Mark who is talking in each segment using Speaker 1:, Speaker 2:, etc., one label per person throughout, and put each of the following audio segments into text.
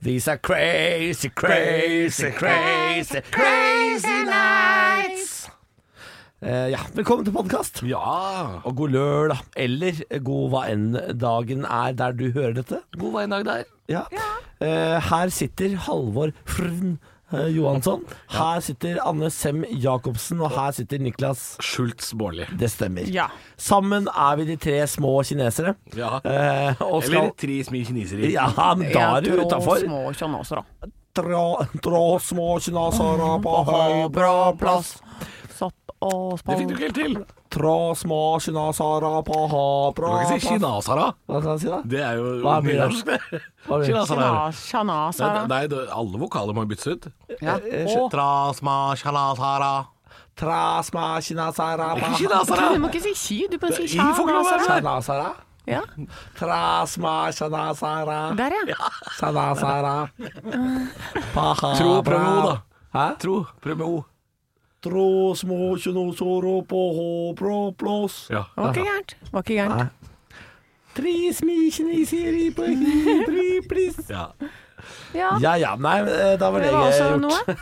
Speaker 1: These are crazy, crazy, crazy, crazy nights. Eh, ja, velkommen til podkast.
Speaker 2: Ja.
Speaker 1: Og god lørdag, eller eh, god hva enn dagen er der du hører dette.
Speaker 2: God vei en dag der.
Speaker 1: Ja. Eh, her sitter Halvor Frn eh, Johansson. Her sitter Anne Sem Jacobsen, og her sitter Niklas.
Speaker 2: Schultz Baarli.
Speaker 1: Det stemmer.
Speaker 3: Ja.
Speaker 1: Sammen er vi de tre små kinesere.
Speaker 2: Ja.
Speaker 1: Eh, og skal
Speaker 2: Eller tre smil kinesere.
Speaker 1: Ja, men da er du
Speaker 3: Jeg tror
Speaker 1: utafor.
Speaker 3: Små kjønnåser, da.
Speaker 1: Trå små kinesere på høybra plass.
Speaker 3: Sopp og
Speaker 2: Det
Speaker 3: spann.
Speaker 2: fikk du ikke helt til. Du
Speaker 1: Trå små kinesere på høybra
Speaker 2: kan ikke si
Speaker 1: plass.
Speaker 2: kinasara.
Speaker 1: Hva skal jeg si, da?
Speaker 2: Det er jo
Speaker 1: Hva blir det?
Speaker 2: nynorsk, det.
Speaker 1: Hva blir det?
Speaker 2: Kinasara.
Speaker 3: Kjanasara.
Speaker 2: Nei, det- alle vokaler må byttes ut.
Speaker 3: Ja. Og
Speaker 2: Trasma shanasara.
Speaker 1: Eh, Tra små kinesere på høybra
Speaker 3: du
Speaker 2: Kinasara!
Speaker 3: må ikke si ki, du må si
Speaker 2: Det- I får ikke lov å være
Speaker 3: kjanasara.
Speaker 1: sånn.
Speaker 2: med.
Speaker 1: Sanasara.
Speaker 3: Ja.
Speaker 1: Tra små kinesere.
Speaker 3: Der, ja.
Speaker 1: Sanasara.
Speaker 2: Tro, prøv med O, da.
Speaker 1: Hæ?
Speaker 2: Tro. Prøv med O.
Speaker 1: Tro små kinesere på høybra plass.
Speaker 2: Ja.
Speaker 3: Det var ikke gærent. Det Var ikke
Speaker 1: Nei.
Speaker 3: gærent.
Speaker 1: Tre smikineseri på hybri pliss.
Speaker 2: Ja.
Speaker 3: Ja,
Speaker 1: Ja ja, nei, eh, da var det,
Speaker 3: det var
Speaker 1: jeg
Speaker 3: også
Speaker 1: gjort.
Speaker 3: noe.
Speaker 2: ja.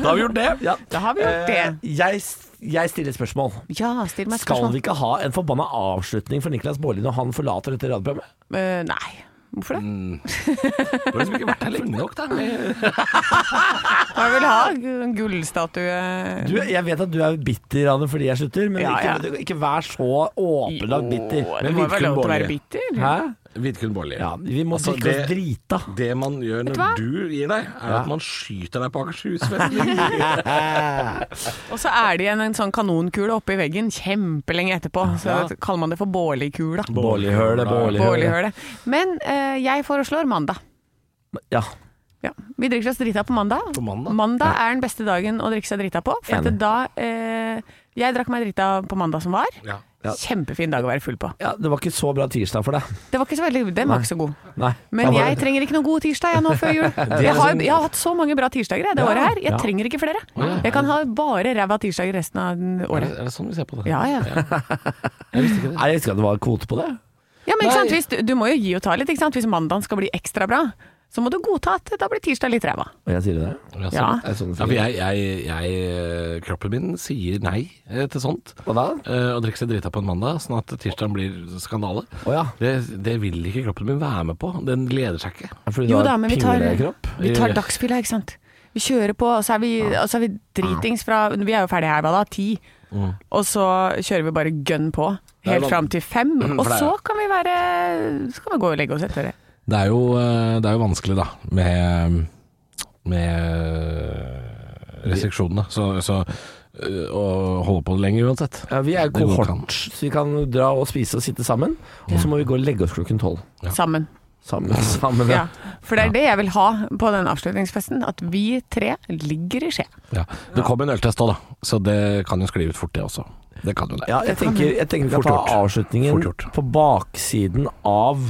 Speaker 2: Da har vi gjort det.
Speaker 1: Ja.
Speaker 3: Da har vi gjort det.
Speaker 1: Eh, Jeg, s- jeg stiller spørsmål.
Speaker 3: Ja, still meg et
Speaker 1: Skal vi
Speaker 3: spørsmål.
Speaker 1: ikke ha en forbanna avslutning for Niklas Baarli når han forlater dette radioprogrammet?
Speaker 3: Eh, Nei. Hvorfor det?
Speaker 2: Du har liksom ikke vært her lenge nok, da.
Speaker 3: Jeg vil ha en gullstatue.
Speaker 1: Du, jeg vet at du er bitter Anne, fordi jeg slutter, men
Speaker 3: Ja,
Speaker 1: Ikke, ikke vær så åpenlagt bitter.
Speaker 3: Jo,
Speaker 2: Men
Speaker 3: Det må
Speaker 2: Vidkun
Speaker 3: være lov til å
Speaker 2: Borge.
Speaker 3: være bitter.
Speaker 1: Hæ?
Speaker 2: Vidkun Baarli.
Speaker 1: Ja, vi må
Speaker 2: Altså,
Speaker 1: drikke oss
Speaker 2: det-
Speaker 1: drita.
Speaker 2: Det man gjør når
Speaker 3: hva?
Speaker 2: du gir deg, er at man skyter deg på Akershusfesten.
Speaker 3: Og så er det igjen en sånn kanonkule oppe i veggen kjempelenge etterpå. Så
Speaker 1: Ja.
Speaker 3: kaller man det for Bårlikula.
Speaker 1: Baarli-hølet, Baarli-hølet.
Speaker 3: Bårlihølet. Men eh, jeg foreslår mandag.
Speaker 1: Ja.
Speaker 3: Ja. Vi drikker oss drita på mandag.
Speaker 2: På mandag?
Speaker 3: er den beste dagen å drikke seg drita på. For at
Speaker 1: Enig.
Speaker 3: da eh, Jeg drakk meg drita på mandag som var.
Speaker 2: Ja.
Speaker 3: Kjempefin dag å være full på.
Speaker 1: ja, det var ikke så bra tirsdag for deg.
Speaker 3: Det var ikke så veldig, den var ikke så god.
Speaker 1: Nei.
Speaker 3: Men
Speaker 1: Da var det-
Speaker 3: jeg
Speaker 1: sånn-
Speaker 3: trenger ikke noen god tirsdag jeg nå før jul. Jeg har, jeg har hatt så mange bra tirsdager jeg, det
Speaker 1: Ja,
Speaker 3: året her. Jeg
Speaker 1: ja.
Speaker 3: trenger ikke flere. Jeg kan ha bare ræva tirsdager resten av den året.
Speaker 2: det sånn vi ser på det?
Speaker 3: Ja, ja.
Speaker 1: Nei, jeg husker at det var kvote på det.
Speaker 3: Ja, men ikke sant? Hvis, du- du må jo gi og ta litt. Ikke sant? Hvis mandagen skal bli ekstra bra, så må du godta at da blir tirsdag litt ræva.
Speaker 1: Og jeg sier det.
Speaker 2: Ah, Ja,
Speaker 3: Ja.
Speaker 1: Er det sånn det
Speaker 2: Ja, for
Speaker 1: fungerer?
Speaker 2: jeg, jeg, jeg, kroppen min sier nei eh, til sånt.
Speaker 1: Hva da?
Speaker 2: Eh, Å drikke seg drita på en mandag, sånn at tirsdagen blir skandale.
Speaker 1: Å ja.
Speaker 2: Det, det vil ikke kroppen min være med på. Den gleder seg ikke.
Speaker 1: Fordi du
Speaker 3: Jo
Speaker 1: har
Speaker 3: da, men vi tar,
Speaker 1: pinglekropp.
Speaker 3: vi tar dagsfylla, ikke sant. Vi kjører på, og så er vi, og så er vi dritings fra Vi er jo ferdige her, hva da? Ti. Og så kjører vi bare gønn på.
Speaker 2: Mm. er
Speaker 3: Helt
Speaker 2: lov-
Speaker 3: fram til fem. Og
Speaker 2: for det er-
Speaker 3: så kan vi være Så kan vi gå og legge oss etter det.
Speaker 2: Det er jo, eh, det er jo vanskelig, da, med, med restriksjonene. Så, så eh, å holde på lenger uansett.
Speaker 1: Ja, vi er
Speaker 2: Det går ikke an.
Speaker 1: kohort, så vi kan dra og spise og sitte sammen. Og så må vi gå og legge oss klokken tolv.
Speaker 3: Sammen.
Speaker 1: Sammen. sammen ja.
Speaker 3: Ja. For det er det jeg vil ha på den avslutningsfesten. At vi tre ligger i skje.
Speaker 2: Ja. Det kom en øltest òg, da, så det kan jo skli ut fort, det også. Det kan jo det.
Speaker 1: Ja, jeg tenker, jeg tenker vi kan
Speaker 2: Fort gjort.
Speaker 1: ta avslutningen
Speaker 2: Fort gjort.
Speaker 1: på baksiden av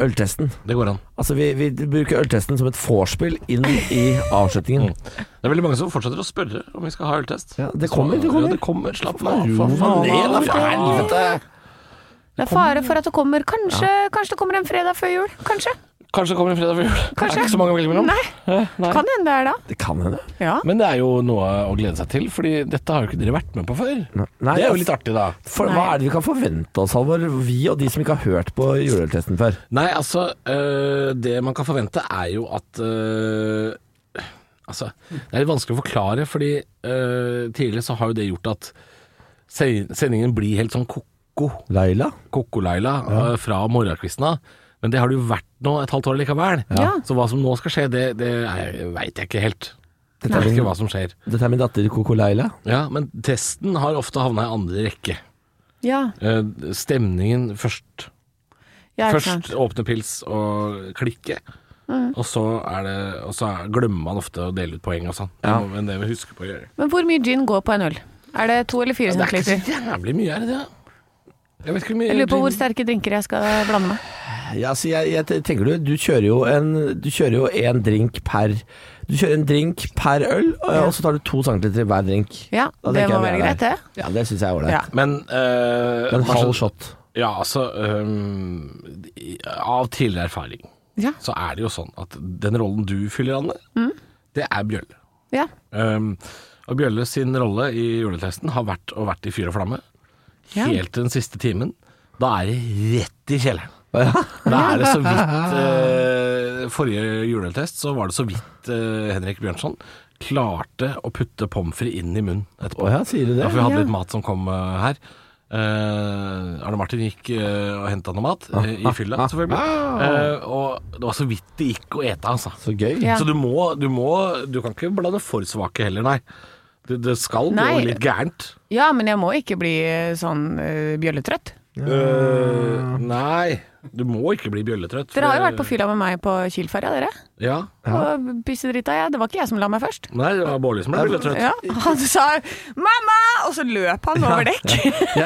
Speaker 1: øltesten.
Speaker 2: Det går an.
Speaker 1: Altså, vi, vi bruker øltesten som et vorspiel inn i avslutningen.
Speaker 2: Mm. Det er veldig mange som fortsetter å spørre om vi skal ha øltest.
Speaker 1: Ja, det kommer, det
Speaker 2: Så-
Speaker 1: kommer.
Speaker 2: Ja, det kommer. Slapp
Speaker 1: Ja,
Speaker 2: av. Ro
Speaker 1: for faen,
Speaker 2: deg
Speaker 1: ned, da,
Speaker 2: ned,
Speaker 1: for
Speaker 2: da.
Speaker 1: helvete!
Speaker 3: Det er fare for at det kommer kanskje, kanskje det kommer en fredag før jul. Kanskje.
Speaker 2: Kanskje det kommer en fredag før jul. Det Eh,
Speaker 3: Kanskje.
Speaker 2: er ikke så mange å velge mellom.
Speaker 3: Nei. Kan hende det er da.
Speaker 1: Det kan hende.
Speaker 3: Ja.
Speaker 2: Men det er jo noe å glede seg til, Fordi dette har jo ikke dere vært med på før.
Speaker 1: Nei,
Speaker 2: det er jo
Speaker 1: altså,
Speaker 2: litt artig, da.
Speaker 1: For, hva er det vi kan forvente oss, Halvor? Vi og de som ikke har hørt på juleøltesten før.
Speaker 2: Nei, altså øh, Det man kan forvente, er jo at øh, Altså, det er litt vanskelig å forklare, fordi øh, tidligere så har jo det gjort at se- sendingen blir helt sånn ko-ko.
Speaker 1: Laila?
Speaker 2: Kokko-Laila eh, fra morgenkvisten av. Men det har det jo vært nå et halvt år likevel.
Speaker 3: Ja.
Speaker 2: Så hva som nå skal skje, det, det veit jeg ikke helt. Jeg
Speaker 1: Nei.
Speaker 2: vet ikke hva som skjer.
Speaker 1: Dette er min datter Koko Laila.
Speaker 2: Ja, Men testen har ofte havna i andre rekke.
Speaker 3: ja.
Speaker 2: Eh, Stemningen først.
Speaker 3: ja ikke sant. Mm.
Speaker 2: Først åpne pils og klikke. Og så, er det, og så er, glemmer man ofte å dele ut poeng og sånn. Det
Speaker 1: Ja.
Speaker 2: må- Men det må vi huske på å gjøre. Altså,
Speaker 3: Men hvor mye gin går på en øl? Er det to eller fire
Speaker 2: Det er ikke
Speaker 3: centiliter?
Speaker 2: så jævlig mye, er det det? Jeg vet ikke hvor mye
Speaker 3: Jeg lurer på hvor
Speaker 2: gin-
Speaker 3: sterke drinker jeg skal blande meg.
Speaker 1: Ja, så jeg, jeg te- tenker du, du kjører jo en, du kjører jo en drink per Du kjører en drink per øl, og, og så tar du to centiliter i hver drink.
Speaker 3: Ja,
Speaker 1: Da
Speaker 3: det
Speaker 1: tenker jeg vi
Speaker 3: må være
Speaker 1: er
Speaker 3: greit,
Speaker 1: der.
Speaker 3: det.
Speaker 1: Ja, det syns jeg er ålreit.
Speaker 3: Ja.
Speaker 2: Men eh,
Speaker 1: En
Speaker 2: man skjøn-
Speaker 1: halv shot.
Speaker 2: Ja, altså øhm, i- Av ehm, tidligere erfaring
Speaker 3: Ja.
Speaker 2: så er det jo sånn at den rollen du fyller, Anne, det er Bjølle.
Speaker 3: ja.
Speaker 2: Um, og Bjølle sin rolle i juletesten har vært og vært i fyr og flamme.
Speaker 3: Ja.
Speaker 2: Helt til den siste timen. Da er det rett i kjelleren.
Speaker 1: Ja.
Speaker 2: Da er det så vidt eh, Forrige juletest så var det så vidt eh, Henrik Bjørnson klarte å putte pommes frites inn i munnen etterpå.
Speaker 1: Å ja, sier du det?
Speaker 2: Ja, for vi hadde
Speaker 3: Ja.
Speaker 2: litt mat som kom eh, her. Eh, Arne Martin gikk eh, og henta noe mat, eh, i fylla selvfølgelig.
Speaker 3: Ah.
Speaker 2: Eh, og det var så vidt det gikk å ete, altså.
Speaker 1: Så gøy.
Speaker 3: Ja.
Speaker 2: Så du må, du må Du kan ikke blande for svake heller, nei. Det, det skal
Speaker 3: Nei.
Speaker 2: gå litt gærent.
Speaker 3: ja, men jeg må ikke bli eh, sånn eh, bjølletrøtt.
Speaker 2: Eh, nei, du må ikke bli bjølletrøtt.
Speaker 3: Dere har jo vært på
Speaker 2: fyr.
Speaker 3: fylla med meg på Kielferja, dere.
Speaker 2: Ja.
Speaker 3: Og pissedrita jeg. Det var ikke jeg som la meg først.
Speaker 2: Nei, det var Bårdli som ble bjølletrøtt.
Speaker 3: Ja, han sa 'mamma', og så løp han over dekk.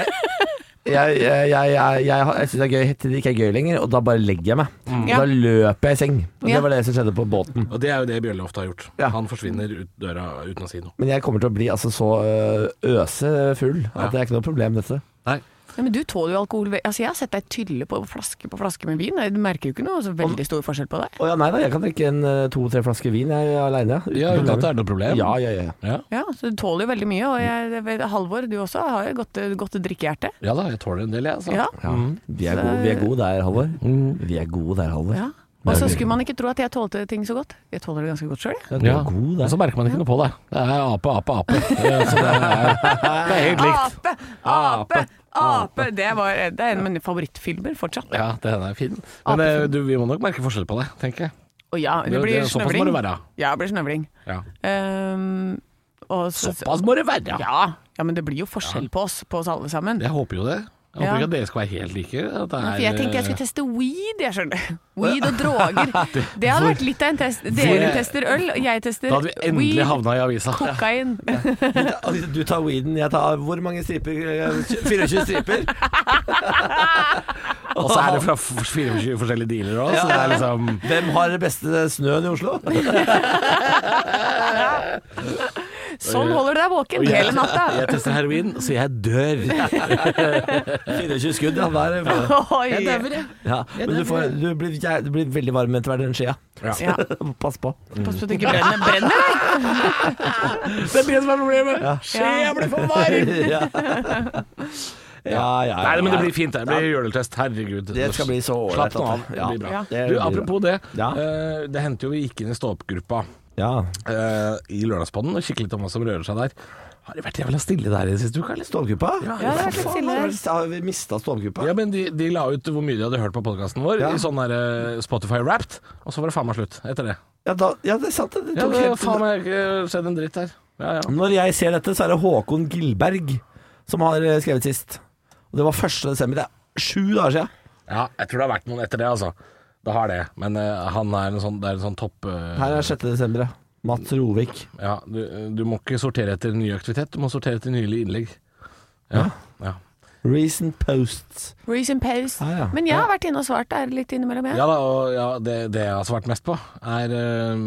Speaker 1: Jeg, jeg, jeg, jeg, jeg, jeg syns det er gøy til det ikke er gøy lenger, og da bare legger jeg meg.
Speaker 3: Ja.
Speaker 1: Da løper jeg i seng. Og
Speaker 3: Ja.
Speaker 1: Det var det som skjedde på båten.
Speaker 2: Og det er jo det Bjølle ofte har gjort.
Speaker 1: Ja.
Speaker 2: Han forsvinner ut døra uten å si noe.
Speaker 1: Men jeg kommer til å bli altså, så øh, øsefull at det er ikke noe problem, dette.
Speaker 2: Nei.
Speaker 3: Ja, men du tåler jo alkohol. ve- Altså, jeg har sett deg tylle på flaske på flaske med vin. Du merker jo ikke noe så veldig stor forskjell på det.
Speaker 1: Å ja, nei da, jeg kan drikke en øh, to-tre flasker vin jeg aleine.
Speaker 2: Ja, uten at det er noe problem.
Speaker 1: Ja, ja, ja.
Speaker 2: Ja,
Speaker 3: Ja, så Du tåler jo veldig mye. Og jeg, jeg vet- Halvor, du også har jo godt, godt drikkehjerte.
Speaker 2: ja da, jeg tåler en del, jeg. Altså.
Speaker 3: Ja.
Speaker 1: ja. Vi, er gode, vi er gode der, Halvor.
Speaker 2: Mm.
Speaker 1: Vi er gode der, Halvor.
Speaker 3: ja. Og så skulle man ikke tro at jeg tålte ting så godt. Jeg tåler det ganske godt sjøl, jeg.
Speaker 1: Ja, du er god
Speaker 2: Men
Speaker 1: der.
Speaker 2: så merker man ikke noe på det. Det er ape, ape, ape. Det er- Så det, er, det er helt likt.
Speaker 3: Ape, ape, ape. Det, var, det er en av mine favorittfilmer fortsatt.
Speaker 2: Ja, den er fin. Men eh, du, vi må nok merke forskjell på det, tenker jeg.
Speaker 3: Og ja, det
Speaker 2: Det-
Speaker 3: blir
Speaker 2: det- såpass må
Speaker 3: snøvling.
Speaker 2: det være.
Speaker 3: Ja, det blir snøvling.
Speaker 2: Ja.
Speaker 3: Ehm, og så,
Speaker 2: Såpass må det være!
Speaker 3: Ja. ja, men det blir jo forskjell på oss, på oss alle sammen.
Speaker 2: Jeg håper jo det. Jeg håper
Speaker 3: Ja.
Speaker 2: ikke at dere skal være helt like. At det er,
Speaker 3: Nei,
Speaker 2: eh,
Speaker 3: for jeg tenkte jeg skulle teste weed, jeg skjønner. Weed og droger. Det hadde vært litt av en test. Dere
Speaker 2: Hvor-
Speaker 3: tester øl, og jeg
Speaker 2: da
Speaker 3: tester
Speaker 2: hadde vi endelig
Speaker 3: weed,
Speaker 2: havna i avisa.
Speaker 3: kokain.
Speaker 1: Altså, Du tar weeden, jeg tar hvor mange striper? eh, 24 striper?
Speaker 2: Og så er det fra f- 24 forskjellige dealer òg, så det er liksom
Speaker 1: Hvem har det beste snøen i Oslo?
Speaker 3: Sånn holder du deg våken
Speaker 2: Og jeg-
Speaker 3: hele natta.
Speaker 2: Jeg tester heroin, så jeg dør.
Speaker 1: 24 skudd, ja. Der.
Speaker 3: Oi.
Speaker 1: ja. Men du, får, du, blir, jæ- du blir veldig varm etter hvert, den skjea.
Speaker 3: Ja,
Speaker 1: Pass på.
Speaker 3: pass på at du ikke brenner. Brenner deg!
Speaker 2: Mm. Det blir det som er problemet.
Speaker 3: Skjea
Speaker 2: blir for varm.
Speaker 1: ja. Ja, ja,
Speaker 2: Nei, men det blir fint. Det blir juletest. Herregud.
Speaker 1: Det skal bli så ålreit. altså.
Speaker 2: Slapp nå av.
Speaker 1: at
Speaker 2: Det blir bra.
Speaker 3: Ja.
Speaker 1: Det
Speaker 2: Du,
Speaker 1: blir
Speaker 2: apropos det.
Speaker 1: Ja.
Speaker 2: eh, Det hendte jo vi gikk inn i stå-opp-gruppa
Speaker 1: Ja.
Speaker 2: eh, i Lørdagspodden og kikket litt om hva som rører seg der. Har det vært jævla stille der i det siste uka, eller?
Speaker 1: Stålgruppa?
Speaker 3: det er litt stille.
Speaker 1: Har vi mista stålgruppa?
Speaker 2: Ja, men de, de la ut hvor mye de hadde hørt på podkasten vår
Speaker 1: Ja.
Speaker 2: i sånn der eh, Spotify Wrapped, og så var det faen meg slutt etter det.
Speaker 1: Ja, da, ja, det er sant. Det, det
Speaker 2: Ja,
Speaker 1: tok
Speaker 2: det har
Speaker 1: helt-
Speaker 2: faen meg ikke skjedd en dritt her. Ja, ja.
Speaker 1: Når jeg ser dette, så er det Håkon Gilberg som har eh, skrevet sist. Og det var 1. desember. Det er sju dager siden.
Speaker 2: ja, jeg tror det har vært noen etter det, altså. Det har det, men eh, han er en sånn, det er en sånn topp eh,
Speaker 1: Her er 6. desember. ja. Mats Rovik.
Speaker 2: ja, du, eh, du må ikke sortere etter ny aktivitet, du må sortere etter nylig innlegg. Ja, ja.
Speaker 1: Recent posts.
Speaker 3: Reason pause.
Speaker 1: Ah, ja.
Speaker 3: Men jeg har vært inne og svart der litt innimellom, jeg.
Speaker 2: ja da, og ja, det, det jeg har svart mest på, er, eh,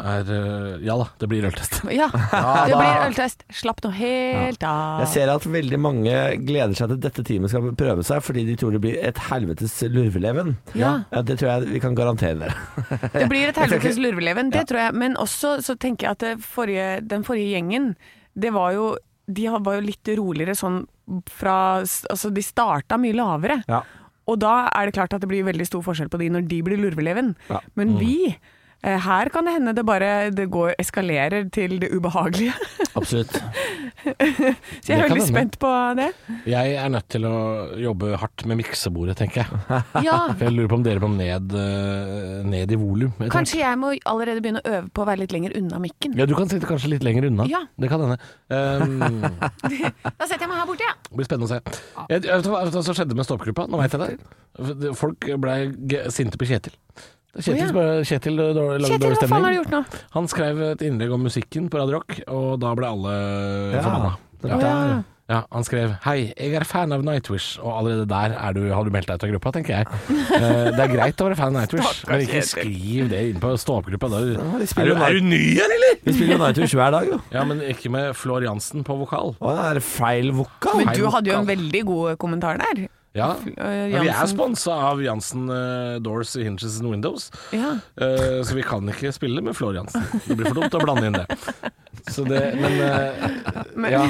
Speaker 2: er eh, Ja da, det blir øltest.
Speaker 3: Ja, det
Speaker 2: da.
Speaker 3: blir øltest. Slapp nå helt av.
Speaker 1: Jeg ser at veldig mange gleder seg til dette teamet skal prøve seg, fordi de tror det blir et helvetes lurveleven.
Speaker 3: Ja.
Speaker 1: ja det tror jeg vi kan garantere dere.
Speaker 3: Det blir et helvetes
Speaker 1: ikke-
Speaker 3: lurveleven, det tror jeg. Men også så tenker jeg at det forrige, den forrige gjengen, det var jo De har- var jo litt roligere sånn fra Altså, de starta mye lavere.
Speaker 1: Ja.
Speaker 3: Og da er det klart at det blir veldig stor forskjell på de når de blir lurveleven.
Speaker 1: Ja.
Speaker 3: Men
Speaker 2: Mm.
Speaker 3: vi eh, her kan det hende det bare det går, eskalerer til det ubehagelige.
Speaker 1: Absolutt.
Speaker 3: Så jeg er
Speaker 2: Det kan
Speaker 3: veldig
Speaker 2: hende.
Speaker 3: spent på det.
Speaker 2: Jeg er nødt til å jobbe hardt med miksebordet, tenker jeg.
Speaker 3: Ja,
Speaker 2: For jeg lurer på om dere må ned, eh, ned i volum. etter hvert.
Speaker 3: kanskje jeg må allerede begynne å øve på å være litt lenger unna mikken.
Speaker 2: Ja, du kan sitte kanskje litt lenger unna.
Speaker 3: Ja.
Speaker 2: Det kan hende. Um, det
Speaker 3: Da setter jeg meg her borte, jeg.
Speaker 2: blir spennende å se. Jeg, jeg vet hva- vet du hva som skjedde med stoppgruppa? Nå veit jeg det. Folk ble g- sinte på Kjetil. Kjetil,
Speaker 3: Å, ja.
Speaker 2: bare- Kjetil eh, dårlig- lagde
Speaker 3: Kjetil,
Speaker 2: dårlig
Speaker 3: hva faen har du
Speaker 2: stemning.
Speaker 3: gjort nå?
Speaker 2: Han skrev et innlegg om musikken på Radio Rock, og da ble alle
Speaker 1: Ja.
Speaker 2: forbanna.
Speaker 1: Det sånn,
Speaker 2: Ja.
Speaker 1: var der.
Speaker 3: ja.
Speaker 2: Ja, han skrev Hei, jeg er fan av Nightwish Og allerede der er du, har du meldt deg ut av gruppa, tenker jeg Eh, Det er greit å være fan av Nightwish Men ikke skriv det inn på stå-opp-gruppa da-
Speaker 1: Ja, de
Speaker 2: er,
Speaker 1: spiller
Speaker 2: du- er du ny her, eller?
Speaker 1: Vi spiller jo Nightwish hver dag, jo.
Speaker 2: Ja, men ikke med Flor Jansen på vokal
Speaker 1: Å, det er feil vokal.
Speaker 3: Men du
Speaker 2: Feil
Speaker 3: hadde jo en
Speaker 2: vokal.
Speaker 3: veldig god kommentar der.
Speaker 2: Ja.
Speaker 3: Fl- øh,
Speaker 2: Men vi er
Speaker 3: Jansen.
Speaker 2: sponsa av Jansen eh, Doors, Hinges and Windows,
Speaker 3: Ja.
Speaker 2: eh, så vi kan ikke spille med Flor Jansen. Det blir for dumt å blande inn det. Så det men, eh, ja,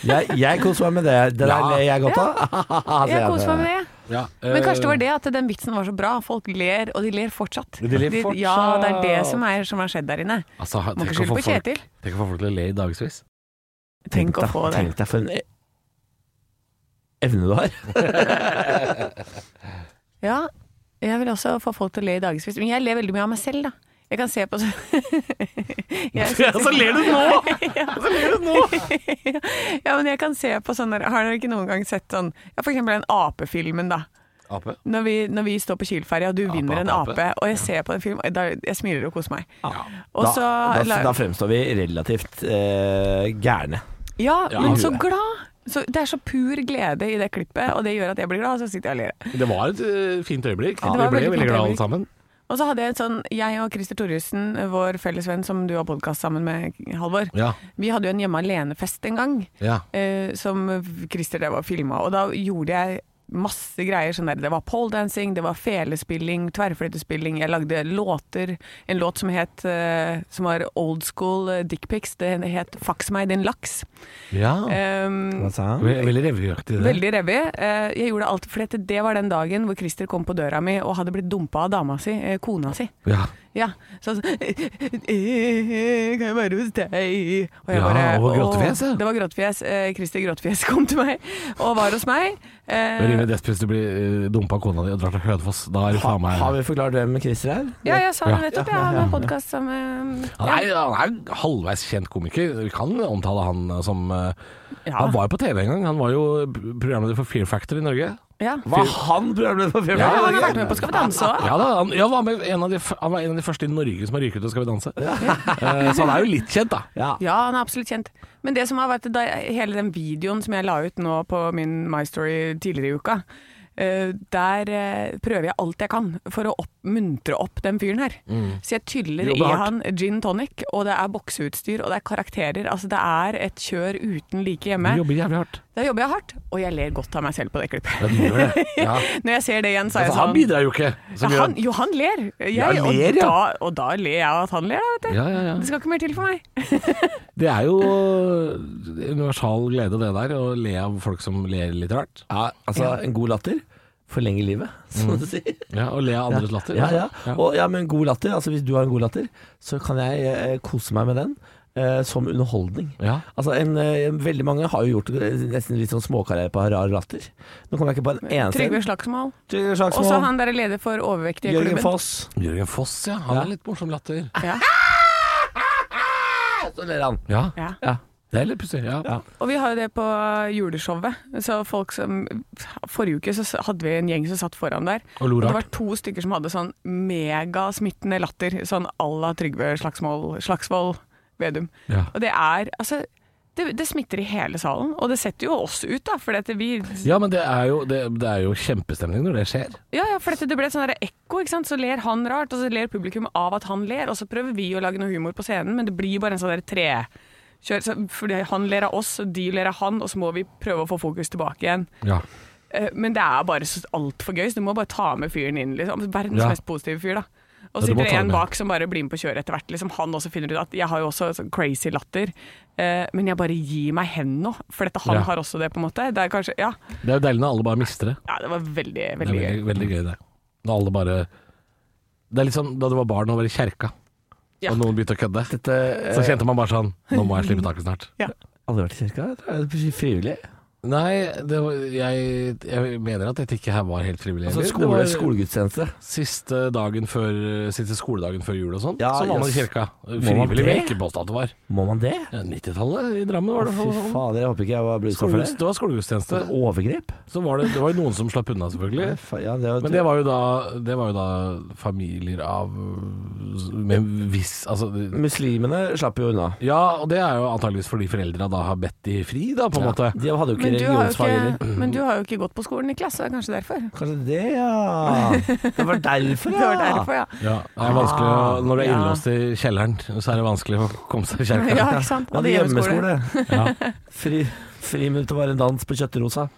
Speaker 1: Jeg, jeg koser meg med det. Det der
Speaker 2: Ja.
Speaker 1: ler jeg godt av.
Speaker 3: Jeg koser meg med det.
Speaker 2: ja,
Speaker 3: Men
Speaker 2: eh,
Speaker 3: kanskje det var det at den vitsen var så bra. Folk ler, og de ler fortsatt.
Speaker 2: De ler fortsatt.
Speaker 3: ja, det er det som, er, som har skjedd der inne.
Speaker 2: altså,
Speaker 3: Må
Speaker 2: tenk, å
Speaker 3: ikke skylde
Speaker 2: få folk,
Speaker 3: på Kjetil.
Speaker 2: tenk å få folk til å le i dagevis.
Speaker 3: Tenk å
Speaker 1: deg-
Speaker 3: få det.
Speaker 1: Tenk deg for en e- evne du har.
Speaker 3: Ja, jeg vil også få folk til å le i dagevis. Men jeg ler veldig mye av meg selv, da. Jeg kan se på så Jeg synes-
Speaker 2: så ler du nå!
Speaker 3: ja.
Speaker 2: Så ler du nå!
Speaker 3: ja, men jeg kan se på sånn der Har dere ikke noen gang sett sånn ja, For eksempel den apefilmen, da.
Speaker 2: Ape.
Speaker 3: Når vi, når vi står på Kiel-ferja, og du vinner en
Speaker 2: ape,
Speaker 3: ape,
Speaker 2: ape.
Speaker 3: og jeg ser på en film, da, jeg smiler og koser meg. Og
Speaker 1: Da,
Speaker 3: så
Speaker 1: da, da fremstår vi relativt eh, gærne.
Speaker 3: Ja,
Speaker 2: Ja,
Speaker 3: men
Speaker 2: du
Speaker 3: så
Speaker 1: er.
Speaker 3: glad! Så, det er så pur glede i det klippet, og det gjør at jeg blir glad, og så sitter jeg og ler.
Speaker 2: Det var et eh, fint øyeblikk.
Speaker 3: det
Speaker 2: vi ble
Speaker 3: var veldig
Speaker 2: veldig
Speaker 3: fint
Speaker 2: glade
Speaker 3: øyeblikk.
Speaker 2: alle sammen.
Speaker 3: Og så hadde jeg et sånn Jeg og Christer Torjussen, vår felles venn som du har podkast sammen med, Halvor,
Speaker 2: Ja.
Speaker 3: vi hadde jo en hjemme alene-fest en gang,
Speaker 2: ja.
Speaker 3: eh, som Christer drev og filma, og da gjorde jeg masse greier. Sånn der. Det var poledancing, det var felespilling, tverrfløytespilling, jeg lagde låter. En låt som het eh, Som var old school eh, dickpics, det het 'Faks meg, din laks'.
Speaker 2: ja.
Speaker 3: Um,
Speaker 1: Hva sa han?
Speaker 2: Ve- Veldig revyaktig, det.
Speaker 3: Veldig revy. Eh, Jeg gjorde alt, for dette, det var den dagen hvor Christer kom på døra mi og hadde blitt dumpa av dama si, eh, kona si.
Speaker 2: Ja.
Speaker 3: Ja, så han sa Sånn «Eh, Kan jeg være hos deg? Og
Speaker 2: Ja, og var
Speaker 3: «Åh».
Speaker 2: gråtefjes, ja.
Speaker 3: Det var gråtefjes. Eh, Christer Gråtefjes kom til meg og var hos meg. Eh,
Speaker 2: Det er rimelig desp hvis du blir eh, dumpa av kona di og drar til Hønefoss. Da er du faen meg
Speaker 1: Har vi forklart hvem Christer er?
Speaker 3: ja, jeg sa det
Speaker 2: Ja.
Speaker 3: nettopp. Jeg har en podkast som eh,
Speaker 2: Han er, han er en halvveis kjent komiker. Vi kan omtale han som eh,
Speaker 3: Ja.
Speaker 2: Han var jo på TV en gang. Han var jo programleder for Fear Factor i Norge.
Speaker 3: ja.
Speaker 1: Var han programleder for Fjell?
Speaker 2: Ja,
Speaker 3: Han har vært med på Skal vi danse òg.
Speaker 2: Ja, da, han, ja, var med en av de, f- han var en av de første i Norge som har ryket ut og Skal vi danse. Eh, så han er jo litt kjent, da.
Speaker 1: Ja.
Speaker 3: Ja, han er absolutt kjent. Men det som har vært da, hele den videoen som jeg la ut nå på min My Story tidligere i uka, eh, der eh, prøver jeg alt jeg kan for å opp, muntre opp den fyren her. Så jeg tyller
Speaker 2: Jobber
Speaker 3: i
Speaker 2: hardt.
Speaker 3: han gin tonic, og det er bokseutstyr, og det er karakterer. Altså det er et kjør uten like hjemme.
Speaker 2: Du jobber jævlig hardt.
Speaker 3: Da jobber jeg hardt, og jeg ler godt av meg selv på det klippet.
Speaker 2: Ja, du gjør det. Ja.
Speaker 3: Når jeg ser det igjen, så er
Speaker 2: Altså,
Speaker 3: jeg
Speaker 2: han
Speaker 3: sånn
Speaker 2: bidrar jo ikke. så
Speaker 3: ja,
Speaker 2: mye.
Speaker 3: han, jo, han ler. Jeg,
Speaker 2: Ja, han ler,
Speaker 3: og,
Speaker 2: ja.
Speaker 3: da, og da ler jeg av at han ler, da, vet du.
Speaker 2: Ja, ja, ja.
Speaker 3: Det skal ikke mer til for meg.
Speaker 2: Det er jo universal glede, det der. Å le av folk som ler litt rart.
Speaker 1: Ja, altså, en god latter forlenger livet, som du sier.
Speaker 2: Ja, Å le av andres latter.
Speaker 1: Ja, ja. Og, ja, men god latter, altså hvis du har en god latter, så kan jeg eh, kose meg med den eh, som underholdning.
Speaker 2: Ja.
Speaker 1: Altså, en, eh, veldig mange har jo gjort eh, nesten litt sånn småkarriere på rar latter. Nå kommer jeg ikke på en eneste
Speaker 3: Trygve Slagsvold.
Speaker 1: Trygve Slagsvold,
Speaker 3: Og så han der er leder for overvektige
Speaker 1: Jørgen
Speaker 3: klubben.
Speaker 1: Foss.
Speaker 2: Jørgen Foss, ja. Han
Speaker 1: Ja.
Speaker 2: er litt morsom latter.
Speaker 3: Ja.
Speaker 1: Ja, Ah! Så ler han.
Speaker 2: Ja.
Speaker 3: Ja.
Speaker 1: Ja.
Speaker 2: Det er litt pussig. Ja.
Speaker 1: Ja.
Speaker 3: Og vi har jo det på juleshowet. Så folk som, forrige uke så s- hadde vi en gjeng som satt foran der.
Speaker 2: Og lo
Speaker 3: det var
Speaker 2: rart.
Speaker 3: to stykker som hadde sånn megasmittende latter. Sånn à la Trygve Slagsvold, Slagsvold Vedum.
Speaker 2: Ja.
Speaker 3: Og det er altså det, det smitter i hele salen, og det setter jo oss ut, da. For dette vi
Speaker 2: Ja, men det er, jo, det, det er jo kjempestemning når det skjer.
Speaker 3: Ja, ja, for dette, det ble et sånn der ekko, ikke sant. Så ler han rart, og så ler publikum av at han ler. Og så prøver vi å lage noe humor på scenen, men det blir bare en sånn der trekjør. Så, fordi han ler av oss, og de ler av han, og så må vi prøve å få fokus tilbake igjen.
Speaker 2: Ja.
Speaker 3: Eh, Men det er bare så altfor gøy, så du må bare ta med fyren inn. Liksom. Verdens
Speaker 2: Ja.
Speaker 3: mest positive fyr, da.
Speaker 2: Ja,
Speaker 3: Og så
Speaker 2: du må
Speaker 3: sitter det
Speaker 2: ta
Speaker 3: en
Speaker 2: med.
Speaker 3: bak som bare blir med på kjøret etter hvert. Liksom. Han også finner ut at jeg har jo også sånn crazy latter, eh, men jeg bare gir meg hen nå. For dette han
Speaker 2: Ja.
Speaker 3: har også det, på en måte. Det er kanskje Ja,
Speaker 2: Det er jo deilig når alle bare mister det.
Speaker 3: ja det var veldig,
Speaker 2: Det er
Speaker 3: veldig gøy.
Speaker 2: veldig, veldig gøy, det. Når alle bare Det er litt sånn da du var barn og var i kjerka,
Speaker 3: Ja.
Speaker 2: og noen begynte å kødde.
Speaker 1: Dette eh,
Speaker 2: Så kjente man bare sånn Nå må jeg slippe taket snart.
Speaker 1: Aldri vært i kirka? Jeg tror- Frivillig?
Speaker 2: Nei, det var, jeg, jeg mener at dette ikke her var helt frivillig.
Speaker 1: Altså
Speaker 2: heller.
Speaker 1: skole,
Speaker 2: det var
Speaker 1: skolegudstjeneste.
Speaker 2: siste, dagen før, siste skoledagen før jul og sånn,
Speaker 1: Ja,
Speaker 2: så var man i
Speaker 1: jøss.
Speaker 2: kirka.
Speaker 1: man
Speaker 2: Frivillig vil jeg
Speaker 1: det?
Speaker 2: ikke påstå at det var.
Speaker 1: Må man det?
Speaker 2: Ja, 90-tallet i Drammen var
Speaker 1: Fy
Speaker 2: det. for-
Speaker 1: fader, jeg håper ikke jeg var blitt utsatt for
Speaker 2: Skole,
Speaker 1: det.
Speaker 2: det var skolegudstjeneste.
Speaker 1: Overgrep?
Speaker 2: Så var det, det var jo noen som slapp unna, selvfølgelig.
Speaker 1: Fa- Ja, det var,
Speaker 2: Men det var jo da, det var jo da familier av Med viss Altså
Speaker 1: Muslimene slapp jo unna.
Speaker 2: Ja, og det er jo antageligvis fordi foreldra da har bedt de fri, da, på en måte.
Speaker 1: De hadde jo ikke
Speaker 3: Men du, har jo
Speaker 1: religionsfag heller.
Speaker 3: ikke, men du har jo ikke gått på skolen, Niklas, så det er kanskje derfor.
Speaker 1: Kanskje det, ja. Det var derfor,
Speaker 3: Det
Speaker 1: ja.
Speaker 3: var derfor, ja. Ah,
Speaker 2: Ja, det er vanskelig å, Når du er
Speaker 3: Ja.
Speaker 2: innlåst i kjelleren, så er det vanskelig å komme seg i kjerka.
Speaker 3: Ja, ikke sant.
Speaker 1: Man hadde hjemmeskole.
Speaker 2: Ja.
Speaker 1: Fri, friminuttet var en dans på Kjøttrosa.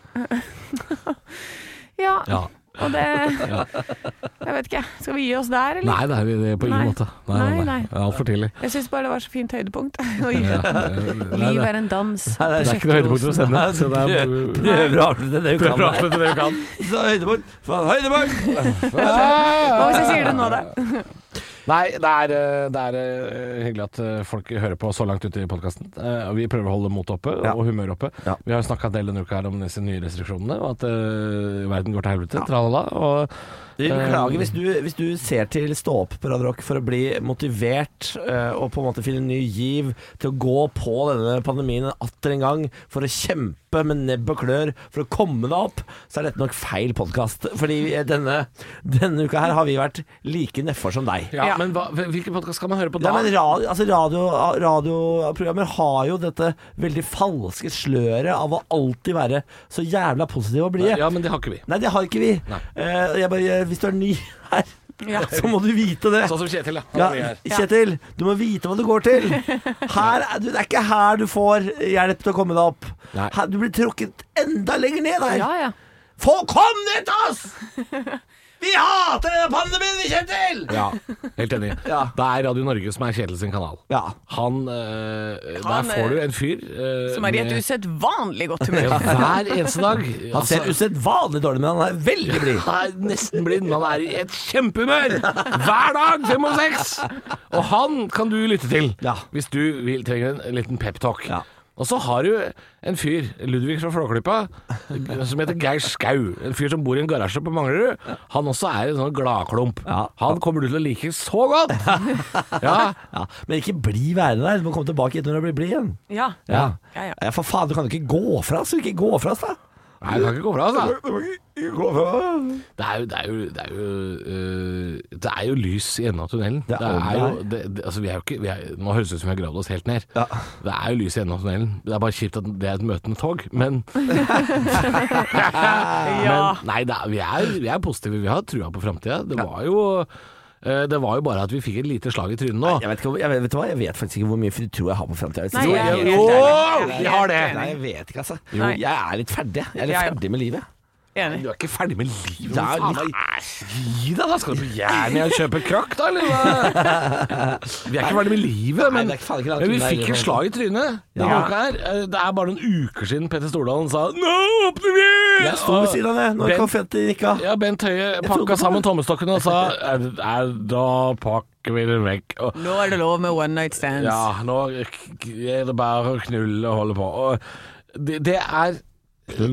Speaker 3: Ja,
Speaker 2: Ja.
Speaker 3: og det Jeg vet ikke. Skal vi gi oss der, eller?
Speaker 2: Nei, det er vi det er på ingen
Speaker 3: Nei.
Speaker 2: måte.
Speaker 3: Nei, nei.
Speaker 2: Altfor tidlig.
Speaker 3: Jeg syns bare det var så fint høydepunkt.
Speaker 2: Ja.
Speaker 3: Oi.
Speaker 2: Nei,
Speaker 3: Liv
Speaker 2: det-
Speaker 3: er en dans.
Speaker 1: det
Speaker 2: Det er ikke noe høydepunkt å sende.
Speaker 1: Nei,
Speaker 2: Så det er
Speaker 1: prøv- Prøver å avslutte det du
Speaker 2: Prøv å
Speaker 1: kan.
Speaker 2: avslutte det du kan.
Speaker 1: Så Høydepunkt! Faen, høydepunkt!
Speaker 3: Hva hvis jeg sier det nå, da?
Speaker 2: Nei, det er, eh, det er eh, hyggelig at eh, folk hører på så langt ute i podkasten. Vi prøver å holde motet oppe
Speaker 1: Ja.
Speaker 2: og humøret oppe.
Speaker 1: Ja.
Speaker 2: Vi har snakka en del denne uka her om disse nye restriksjonene, og at eh, verden går til helvete. Tralala. Og
Speaker 1: Vi beklager hvis du, hvis du ser til Stå opp på Radio Rock for å bli motivert eh, og på en måte finne ny giv til å gå på denne pandemien atter en gang for å kjempe med nebb og klør for å komme deg opp, så er dette nok feil podkast. Fordi eh, denne, denne uka her har vi vært like nedfor som deg.
Speaker 2: ja,
Speaker 3: Ja.
Speaker 2: Men hva, hvilken podkast skal man høre på
Speaker 1: Ja,
Speaker 2: da?
Speaker 1: men radio, altså radio, radioprogrammer har jo dette veldig falske sløret av å alltid være så jævla positive og blide.
Speaker 2: ja, men det har ikke vi.
Speaker 1: Nei, det har ikke vi.
Speaker 2: Nei.
Speaker 1: Eh, jeg bare, hvis du er ny her,
Speaker 3: Ja.
Speaker 1: så må du vite det.
Speaker 2: Sånn som Kjetil, da.
Speaker 1: Ja,
Speaker 2: Han er her.
Speaker 1: Kjetil, du må vite hva du går til. Her, er- du, det er ikke her du får hjelp til å komme deg opp.
Speaker 2: Nei.
Speaker 1: Her, du blir trukket enda lenger ned her.
Speaker 3: Ja, ja.
Speaker 1: Få kom ned til oss! Vi hater denne pandemien, vi, Kjetil!
Speaker 2: Ja, helt enig.
Speaker 1: Ja.
Speaker 2: Det er Radio Norge som er Kjetil sin kanal.
Speaker 1: Ja.
Speaker 2: Han, eh, Der
Speaker 3: Han,
Speaker 2: får du
Speaker 3: eh,
Speaker 2: en fyr eh,
Speaker 3: Som er i et
Speaker 2: med-
Speaker 3: usedvanlig godt
Speaker 2: ja,
Speaker 3: humør.
Speaker 2: Hver eneste dag. Altså-
Speaker 1: Han ser usedvanlig dårlig, men han er veldig blid.
Speaker 2: Han er nesten blind, men han er i et kjempehumør! Hver dag, fem og seks! Og han kan du lytte til
Speaker 1: Ja.
Speaker 2: hvis du vil, trenger en liten peptalk.
Speaker 1: Ja.
Speaker 2: Og så har du en fyr, Ludvig fra Flåklypa, som heter Geir Skau. En fyr som bor i en garasje på Manglerud. Han også er en sånn gladklump.
Speaker 1: Ja.
Speaker 2: Han kommer du til å like så godt! Ja,
Speaker 1: Ja, men ikke bli værende der. Du må komme tilbake hit når du blir blid igjen.
Speaker 3: Ja.
Speaker 1: Ja.
Speaker 3: Ja, ja.
Speaker 1: for faen, du kan jo ikke gå fra oss. Ikke gå fra oss, da.
Speaker 2: Nei, det kan ikke gå fra, altså.
Speaker 1: Du må ikke- ikke gå fra oss.
Speaker 2: Det er jo, det er jo, det er jo, øh, det er jo lys i enden av tunnelen.
Speaker 1: Det er
Speaker 2: Det
Speaker 1: alt
Speaker 2: er
Speaker 1: det
Speaker 2: jo,
Speaker 1: er.
Speaker 2: det, det, altså vi er jo ikke, vi er, nå høres det ut som vi har gravd oss helt ned.
Speaker 1: Ja.
Speaker 2: Det er jo lys i enden av tunnelen. Det er bare kjipt at det er et møte med tog, men,
Speaker 3: Ja.
Speaker 2: men nei, det er, vi, er, vi er positive. Vi har trua på framtida. Det var jo øh, det var jo bare at vi fikk et lite slag i trynet nå.
Speaker 1: Jeg vet, ikke, om- jeg, vet, vet du hva? jeg vet faktisk ikke hvor mye tro jeg har på framtida.
Speaker 3: Nei, jeg er helt
Speaker 2: Jo,
Speaker 3: enig. Jeg er
Speaker 2: vi har
Speaker 3: helt
Speaker 2: det.
Speaker 1: Nei,
Speaker 3: enig.
Speaker 1: jeg vet ikke, altså.
Speaker 3: Jo. Nei.
Speaker 1: Jeg er litt ferdig. Jeg er litt
Speaker 3: Ja, ja.
Speaker 1: ferdig med livet.
Speaker 3: Enig.
Speaker 2: Du er ikke ferdig med livet?
Speaker 1: Det er
Speaker 2: Faen,
Speaker 1: litt-
Speaker 2: da. Gi deg, da! Skal du på Jernia og kjøpe krakk, da, eller hva? Vi er ikke ferdig med livet,
Speaker 1: Nei,
Speaker 2: men
Speaker 1: det er ikke faen ikke langt
Speaker 2: Men vi
Speaker 1: unna i det
Speaker 2: fikk
Speaker 1: hele
Speaker 2: et
Speaker 1: tatt.
Speaker 2: slag i trynet. denne
Speaker 1: Ja.
Speaker 2: uka her. Eh, Det er bare noen uker siden Petter Stordalen sa 'nå åpner vi'!
Speaker 1: Jeg sto ved siden av det når
Speaker 2: Ben-
Speaker 1: konfetti rikka.
Speaker 2: Ja, Bent Høie
Speaker 1: trodde på
Speaker 2: pakka
Speaker 1: det.
Speaker 2: sammen tommestokkene og sa «Eh, eh, 'da pakker vi den vekk'. Og,
Speaker 3: Nå er det lov med one night stands.
Speaker 2: ja, nå er det bare å knulle og holde på. Og det, det er Da er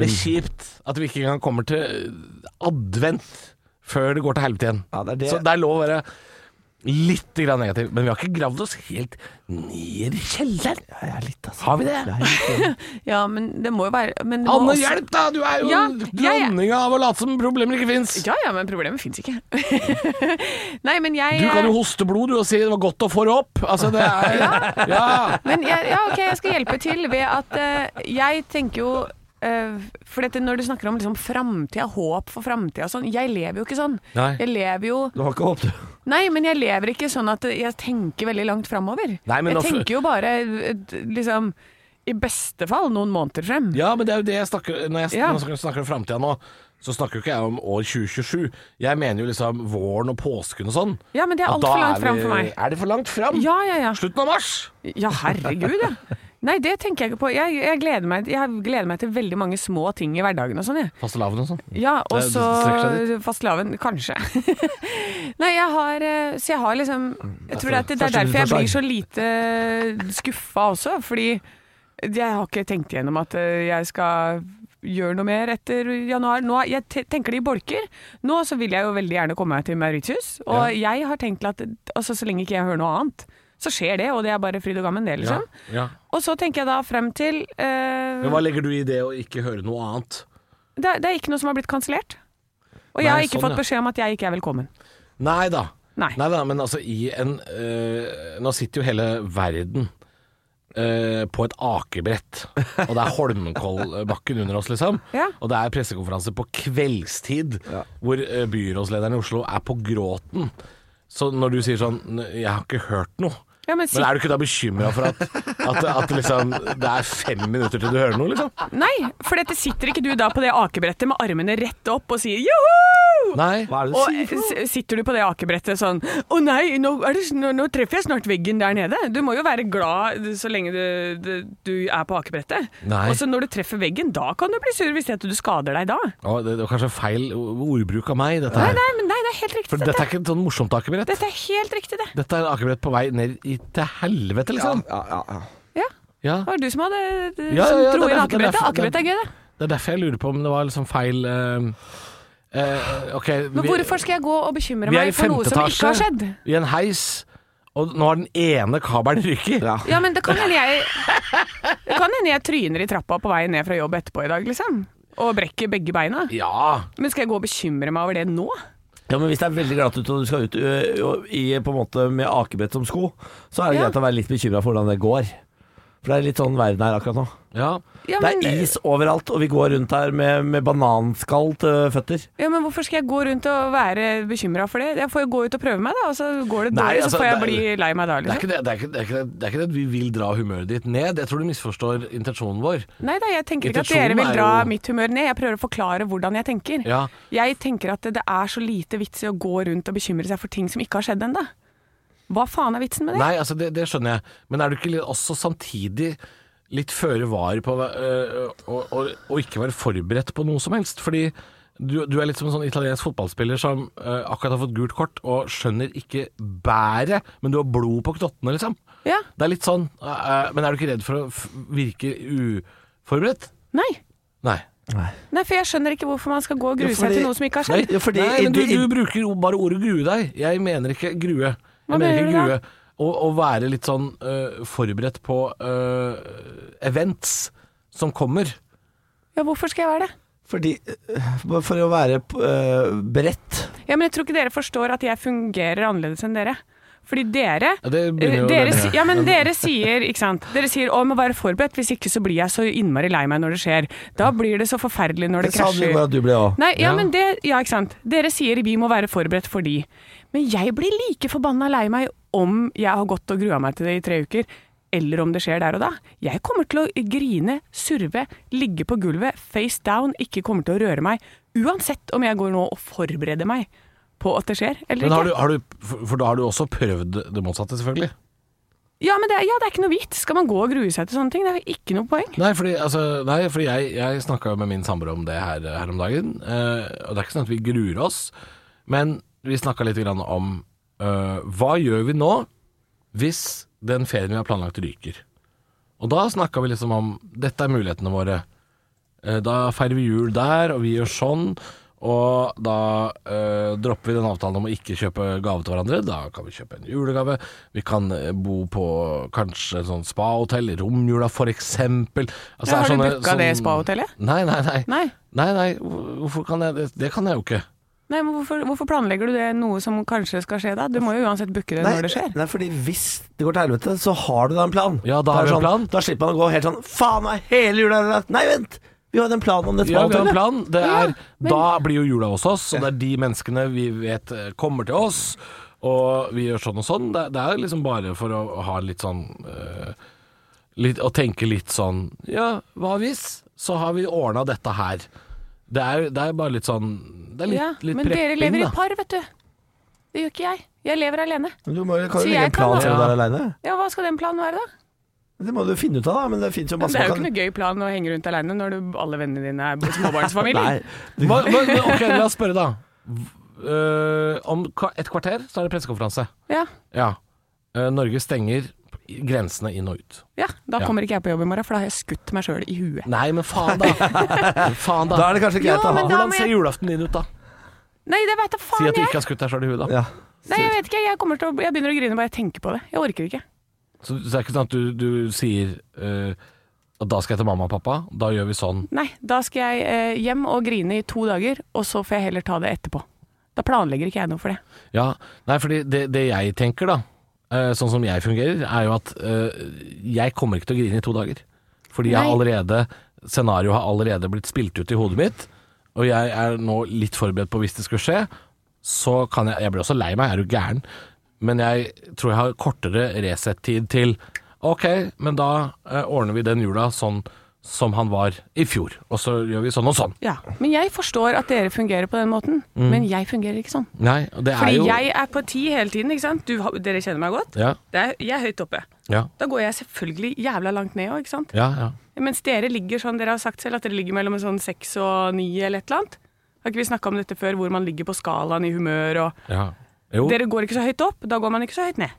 Speaker 2: det kjipt at vi ikke engang kommer til advent før det går til helvete igjen.
Speaker 1: Ja, det er det.
Speaker 2: Så det er lov å være litt grann negativ. Men vi har ikke gravd oss helt ned i kjelleren.
Speaker 1: Ja, jeg er litt, altså.
Speaker 2: Har vi det?
Speaker 1: Jeg er litt-
Speaker 3: Ja, men det må jo være men det må
Speaker 2: Anne,
Speaker 3: også-
Speaker 2: hjelp da! Du er jo
Speaker 3: Ja, jeg-
Speaker 2: dronninga av å late som problemer ikke fins.
Speaker 3: Ja ja, men problemet fins ikke. Nei, men jeg eh,
Speaker 2: Du kan jo hoste blod du og si det var godt å få det opp. Altså, det er Ja.
Speaker 3: Men jeg, ja, ok, jeg skal hjelpe til ved at eh, jeg tenker jo eh, For dette når du snakker om liksom framtida, håp for framtida og sånn Jeg lever jo ikke sånn.
Speaker 2: Nei.
Speaker 3: Jeg lever jo
Speaker 1: Du har ikke håp, du.
Speaker 3: Nei, men jeg lever ikke sånn at jeg tenker veldig langt framover.
Speaker 2: Nei, men
Speaker 3: Jeg
Speaker 2: nå-
Speaker 3: tenker jo bare eh, liksom I beste fall noen måneder frem.
Speaker 2: ja, men det er jo det jeg snakker Når jeg
Speaker 3: Ja.
Speaker 2: når jeg snakker om framtida nå, så snakker jo ikke jeg om år 2027. Jeg mener jo liksom våren og påsken og sånn.
Speaker 3: Ja, men det er
Speaker 2: At
Speaker 3: alt
Speaker 2: da
Speaker 3: for langt
Speaker 2: er
Speaker 3: fram
Speaker 2: vi-
Speaker 3: for meg.
Speaker 2: Er det for langt fram?
Speaker 3: Ja, ja, ja.
Speaker 2: Slutten av mars!
Speaker 3: Ja, herregud, ja. Nei, det tenker jeg ikke på. Jeg, jeg, gleder meg, jeg gleder meg til veldig mange små ting i hverdagen og sånn, jeg.
Speaker 2: Fastelavn og sånn.
Speaker 3: Ja, og
Speaker 2: Det- det
Speaker 3: så
Speaker 2: strekker seg
Speaker 3: fastelavn, kanskje. Nei, jeg har eh, Så jeg har liksom
Speaker 2: Altså,
Speaker 3: Jeg tror det, er- det er
Speaker 1: Første
Speaker 3: derfor jeg
Speaker 1: forslag.
Speaker 3: blir så lite skuffa også, fordi jeg har ikke tenkt igjennom at eh, jeg skal gjøre noe mer etter januar. Nå, er- jeg te- tenker det i bolker. Nå så vil jeg jo veldig gjerne komme meg til Mauritius, og jeg har tenkt at altså, så lenge ikke jeg hører noe annet, så skjer det, og det er bare fryd og gammen, det,
Speaker 2: Ja.
Speaker 3: liksom.
Speaker 2: Ja.
Speaker 3: Og så tenker jeg da frem til eh,
Speaker 2: Men hva legger du i det å ikke høre noe annet?
Speaker 3: det, er- det er ikke noe som har blitt kansellert. Og
Speaker 2: Nei,
Speaker 3: jeg har ikke
Speaker 2: sånn,
Speaker 3: fått
Speaker 2: ja.
Speaker 3: beskjed om at jeg ikke er velkommen.
Speaker 2: Nei da.
Speaker 3: Nei.
Speaker 2: Nei da, men altså i en eh, Nå sitter jo hele verden eh, på et akebrett. Og det er Holmenkollbakken under oss, liksom.
Speaker 3: Ja.
Speaker 2: Og det er pressekonferanse på kveldstid hvor eh, byrådslederen i Oslo er på gråten. Så når du sier sånn "N- Jeg har ikke hørt noe.
Speaker 3: Ja, men
Speaker 2: Men
Speaker 3: sikkert
Speaker 2: er du ikke da bekymra for at, at, at liksom, det er fem minutter til du hører noe, liksom?
Speaker 3: Nei, for dette sitter ikke du da på det akebrettet med armene rett opp og sier joho!
Speaker 2: Nei.
Speaker 1: Hva er det du
Speaker 3: Og eh,
Speaker 1: sier? for noe?
Speaker 3: s- sitter du på det akebrettet sånn Å nei, nå, er det, s- nå, nå treffer jeg snart veggen der nede. Du må jo være glad så lenge du, du, du er på akebrettet.
Speaker 2: Nei.
Speaker 3: Og så når du treffer veggen, da kan du bli sur hvis det er at du skader deg da.
Speaker 2: Å, det, det var kanskje feil ordbruk av meg, dette
Speaker 3: Nei,
Speaker 2: her.
Speaker 3: nei, men nei, det er helt riktig.
Speaker 2: For dette
Speaker 3: Dette,
Speaker 2: er ikke et sånn morsomt akebrett.
Speaker 3: dette er helt riktig, det.
Speaker 2: Dette er akebrett på vei ned i, til helvete, liksom.
Speaker 1: Ja, ja, ja.
Speaker 3: Ja.
Speaker 2: Ja.
Speaker 3: Det var du som hadde du,
Speaker 2: Ja,
Speaker 3: som
Speaker 2: ja, ja,
Speaker 3: dro
Speaker 2: det er derfor- det
Speaker 3: inn
Speaker 2: er
Speaker 3: akebrettet.
Speaker 2: derfor-
Speaker 3: Akebrettet er gøy, det.
Speaker 2: Det er derfor jeg lurer på om det var liksom feil eh, eh, Ok.
Speaker 3: Men
Speaker 2: vi-
Speaker 3: hvorfor skal jeg gå og bekymre
Speaker 2: Vi er i
Speaker 3: meg for noe
Speaker 2: femte
Speaker 3: som ikke har
Speaker 2: etasje.
Speaker 3: skjedd?
Speaker 2: I en heis, og nå har den ene kabelen ryket.
Speaker 1: Ja.
Speaker 3: Ja, men det kan hende jeg Det kan hende jeg tryner i trappa på vei ned fra jobb etterpå i dag, liksom. Og brekker begge beina.
Speaker 2: Ja.
Speaker 3: Men skal jeg gå og bekymre meg over det nå?
Speaker 1: Ja, men Hvis det er veldig glatt ute og du skal ut ø, ø, i, på en måte med akebrett som sko, så er det
Speaker 3: Ja.
Speaker 1: greit å være litt bekymra for hvordan det går. For det er litt sånn verden er akkurat nå.
Speaker 2: ja.
Speaker 3: Ja,
Speaker 1: Det
Speaker 3: men,
Speaker 1: er is overalt, og vi går rundt her med, med bananskall til føtter.
Speaker 3: ja, men hvorfor skal jeg gå rundt og være bekymra for det? Jeg får jo gå ut og prøve meg, da. Og så går det
Speaker 2: Nei,
Speaker 3: dårlig,
Speaker 2: altså,
Speaker 3: så får jeg
Speaker 2: det-
Speaker 3: bli lei meg
Speaker 2: Det
Speaker 3: da,
Speaker 2: er,
Speaker 3: liksom.
Speaker 2: ikke det, det, er ikke, det, er ikke det, det er ikke det at vi vil dra humøret ditt ned. Jeg tror du misforstår intensjonen vår.
Speaker 3: Nei da, jeg tenker ikke at
Speaker 2: Intensjonen
Speaker 3: dere vil
Speaker 2: er
Speaker 3: dra
Speaker 2: jo-
Speaker 3: mitt humør ned. Jeg prøver å forklare hvordan jeg tenker.
Speaker 2: Ja.
Speaker 3: Jeg tenker at det er så lite vits i å gå rundt og bekymre seg for ting som ikke har skjedd ennå. Hva faen er vitsen med det?
Speaker 2: Nei, altså det, det skjønner jeg. Men er du ikke litt, også samtidig litt føre var på øh, å å- å ikke være forberedt på noe som helst? Fordi du, du er litt som en sånn italiensk fotballspiller som øh, akkurat har fått gult kort og skjønner ikke bæret, men du har blod på knottene, liksom.
Speaker 3: Ja,
Speaker 2: Det er litt sånn. øh, øh, men er du ikke redd for å f virke uforberedt?
Speaker 3: nei.
Speaker 2: Nei.
Speaker 3: Nei, for jeg skjønner ikke hvorfor man skal gå og grue
Speaker 1: Jo,
Speaker 3: seg
Speaker 1: fordi-
Speaker 3: til noe som ikke har
Speaker 1: Nei,
Speaker 3: skjedd.
Speaker 1: jo, fordi
Speaker 2: Nei, men du,
Speaker 1: du,
Speaker 2: du bruker jo bare ordet grue deg. Jeg mener ikke grue. Jeg
Speaker 3: Hva
Speaker 2: mener ikke
Speaker 3: mener du da?
Speaker 2: grue. Å, å være litt sånn øh, forberedt på øh, events som kommer.
Speaker 3: Ja, hvorfor skal jeg være det?
Speaker 1: fordi, ø, For å være ø, beredt
Speaker 3: Ja, men jeg tror ikke dere forstår at jeg fungerer annerledes enn dere. Fordi dere
Speaker 2: Ja, det begynner
Speaker 3: eh,
Speaker 2: jo
Speaker 3: dere,
Speaker 2: det-
Speaker 3: si- ja, men dere sier ikke sant? Dere sier å, jeg må være forberedt, hvis ikke så blir jeg så innmari lei meg når det skjer. Da blir det så forferdelig når det,
Speaker 1: Det sa du
Speaker 3: krasjer.
Speaker 1: bare at du ble òg.
Speaker 3: Nei, ja,
Speaker 2: Ja.
Speaker 3: men det, ja, ikke sant. Dere sier vi må være forberedt for de. Men jeg blir like forbanna lei meg om jeg har gått og grua meg til det i tre uker, eller om det skjer der og da. Jeg kommer til å grine, surve, ligge på gulvet, face down, ikke kommer til å røre meg. Uansett om jeg går nå og forbereder meg på at det skjer, eller
Speaker 2: Men har du,
Speaker 3: ikke.
Speaker 2: har du, for for da har du også prøvd det motsatte, selvfølgelig.
Speaker 3: Ja, men det, er- ja, det er ikke noe vits. Skal man gå og grue seg til sånne ting? Det er ikke noe poeng.
Speaker 2: Nei, fordi, altså, nei, fordi jeg, jeg snakka jo med min samboer om det her, her om dagen. eh, og det er ikke sånn at vi gruer oss, men vi snakka litt grann om eh, hva gjør vi nå hvis den ferien vi har planlagt ryker? Og da snakka vi liksom om dette er mulighetene våre. Eh, da feirer vi jul der, og vi gjør sånn. Og da eh, dropper vi den avtalen om å ikke kjøpe gave til hverandre. Da kan vi kjøpe en julegave. Vi kan eh, bo på kanskje et sånt spahotell i romjula, for eksempel. Altså, det
Speaker 3: Ja,
Speaker 2: er
Speaker 3: har du
Speaker 2: sånne-
Speaker 3: booka det
Speaker 2: sånn-
Speaker 3: spahotellet?
Speaker 2: Nei, nei, nei.
Speaker 3: Nei.
Speaker 2: Nei, nei, hvor- hvorfor kan jeg det? Det kan jeg jo ikke.
Speaker 3: Nei, men hvorfor, hvorfor planlegger du det noe som kanskje skal skje da? Du må jo uansett booke det når det skjer.
Speaker 1: nei, fordi hvis det går til helvete, så har du da en plan.
Speaker 2: Ja,
Speaker 1: Det
Speaker 2: da har
Speaker 1: er
Speaker 2: vi en
Speaker 1: sånn,
Speaker 2: plan.
Speaker 1: Da slipper man å gå helt sånn Faen, nei, hele jula er ødelagt. Nei, vent! Vi hadde en plan om det
Speaker 2: Ja, vi har en
Speaker 1: smalhotellet.
Speaker 2: plan. Det er,
Speaker 3: men-
Speaker 2: Da blir jo jula hos oss, og det er de menneskene vi vet eh, kommer til oss. Og vi gjør sånn og sånn. Det, det er liksom bare for å ha litt sånn eh, litt, Å tenke litt sånn Ja, hva hvis? Så har vi ordna dette her. Det er, det er bare litt sånn Det er litt,
Speaker 3: ja,
Speaker 2: litt
Speaker 3: men dere
Speaker 2: prepping,
Speaker 3: lever i
Speaker 2: da.
Speaker 3: par, vet du. Det gjør ikke jeg. Jeg lever alene.
Speaker 1: Men Du må, jo- kan
Speaker 3: Så
Speaker 1: jo legge
Speaker 3: jeg
Speaker 1: en
Speaker 3: kan
Speaker 1: plan
Speaker 3: da-
Speaker 1: selv om du er aleine.
Speaker 3: Ja, Hva skal den planen være, da?
Speaker 1: Det må du finne ut av, da. Men det fins jo masse
Speaker 3: det er jo
Speaker 1: man
Speaker 3: ikke noe gøy plan å henge rundt alene når du, alle vennene dine er
Speaker 1: kan-
Speaker 3: småbarnsfamilie.
Speaker 1: Nei,
Speaker 2: Hva, men, men, ok, la oss spørre, da. V- eh, om ka- et kvarter så er det pressekonferanse.
Speaker 3: ja,
Speaker 2: Ja. Eh, Norge stenger grensene inn og ut.
Speaker 3: ja, da
Speaker 2: Ja.
Speaker 3: kommer ikke jeg på jobb i morgen, for da har jeg skutt meg sjøl i huet.
Speaker 2: Nei, men faen, da. faen da.
Speaker 1: da er det kanskje greit
Speaker 3: Jo,
Speaker 1: å
Speaker 3: men
Speaker 1: ha
Speaker 3: da-
Speaker 2: Hvordan
Speaker 3: må
Speaker 2: ser
Speaker 3: jeg-
Speaker 2: julaften din ut, da?
Speaker 3: Nei, det veit da
Speaker 2: Si
Speaker 3: faen
Speaker 2: at du
Speaker 3: jeg!
Speaker 2: ikke har skutt deg sjøl i huet, da.
Speaker 1: ja.
Speaker 3: Nei, Jeg vet ikke, jeg, kommer til å, jeg begynner å grine bare jeg tenker på det. Jeg orker ikke.
Speaker 2: Så, så det er ikke sånn at du, du sier eh, at da skal jeg til mamma og pappa, da gjør vi sånn.
Speaker 3: Nei, da skal jeg eh, hjem og grine i to dager, og så får jeg heller ta det etterpå. Da planlegger ikke jeg noe for det.
Speaker 2: Ja, Nei, fordi det, det jeg tenker, da, eh, sånn som jeg fungerer, er jo at eh, jeg kommer ikke til å grine i to dager. Fordi jeg har
Speaker 3: Nei.
Speaker 2: allerede scenarioet har allerede blitt spilt ut i hodet mitt, og jeg er nå litt forberedt på hvis det skulle skje. Så kan jeg Jeg blir også lei meg, jeg er jo gæren. men jeg tror jeg har kortere reset-tid til Ok, men da eh, ordner vi den jula sånn som han var i fjor, og så gjør vi sånn og sånn.
Speaker 3: Ja. Men jeg forstår at dere fungerer på den måten,
Speaker 2: Mm.
Speaker 3: men jeg fungerer ikke sånn.
Speaker 2: Nei, og det
Speaker 3: Fordi
Speaker 2: er jo
Speaker 3: jeg er på ti hele tiden, ikke sant? Du, har- dere kjenner meg godt.
Speaker 2: Ja,
Speaker 3: Det er, jeg er høyt oppe.
Speaker 2: ja,
Speaker 3: Da går jeg selvfølgelig jævla langt ned òg, ikke sant?
Speaker 2: ja. ja.
Speaker 3: Mens dere ligger sånn, dere har sagt selv at dere ligger mellom en sånn seks og ni eller et eller annet. Har ikke vi snakka om dette før, hvor man ligger på skalaen i humør og
Speaker 2: ja. Jo.
Speaker 3: Dere går ikke så høyt opp, da går man ikke så høyt ned.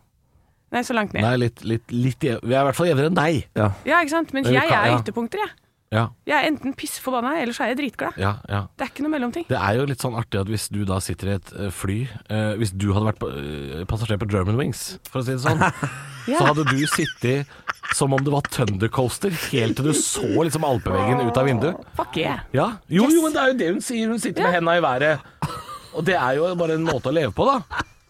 Speaker 3: Nei, så langt ned.
Speaker 2: Nei, litt, litt, litt jevn- Vi er i hvert fall jevnere enn deg.
Speaker 1: Ja.
Speaker 3: Ja, ikke sant? Mens
Speaker 2: Men vi
Speaker 3: jeg
Speaker 2: kan-
Speaker 3: er
Speaker 2: ja.
Speaker 3: ytterpunkter, jeg.
Speaker 2: Ja,
Speaker 3: Jeg er enten pissforbanna, eller så er jeg dritglad.
Speaker 2: ja, ja.
Speaker 3: Det er ikke noe mellomting.
Speaker 2: Det er jo litt sånn artig at hvis du da sitter i et eh, fly eh, Hvis du hadde vært pa- eh, passasjer på Germanwings, for å si det sånn, så
Speaker 3: Ja.
Speaker 2: hadde du sittet som om det var Thundercoaster helt til du så liksom alpeveggen ut av vinduet.
Speaker 3: Fuck yeah.
Speaker 2: Ja. Jo,
Speaker 3: Yes.
Speaker 2: jo, men det er jo det hun sier. Hun sitter med henda i været. Og det er jo bare en måte å leve på, da.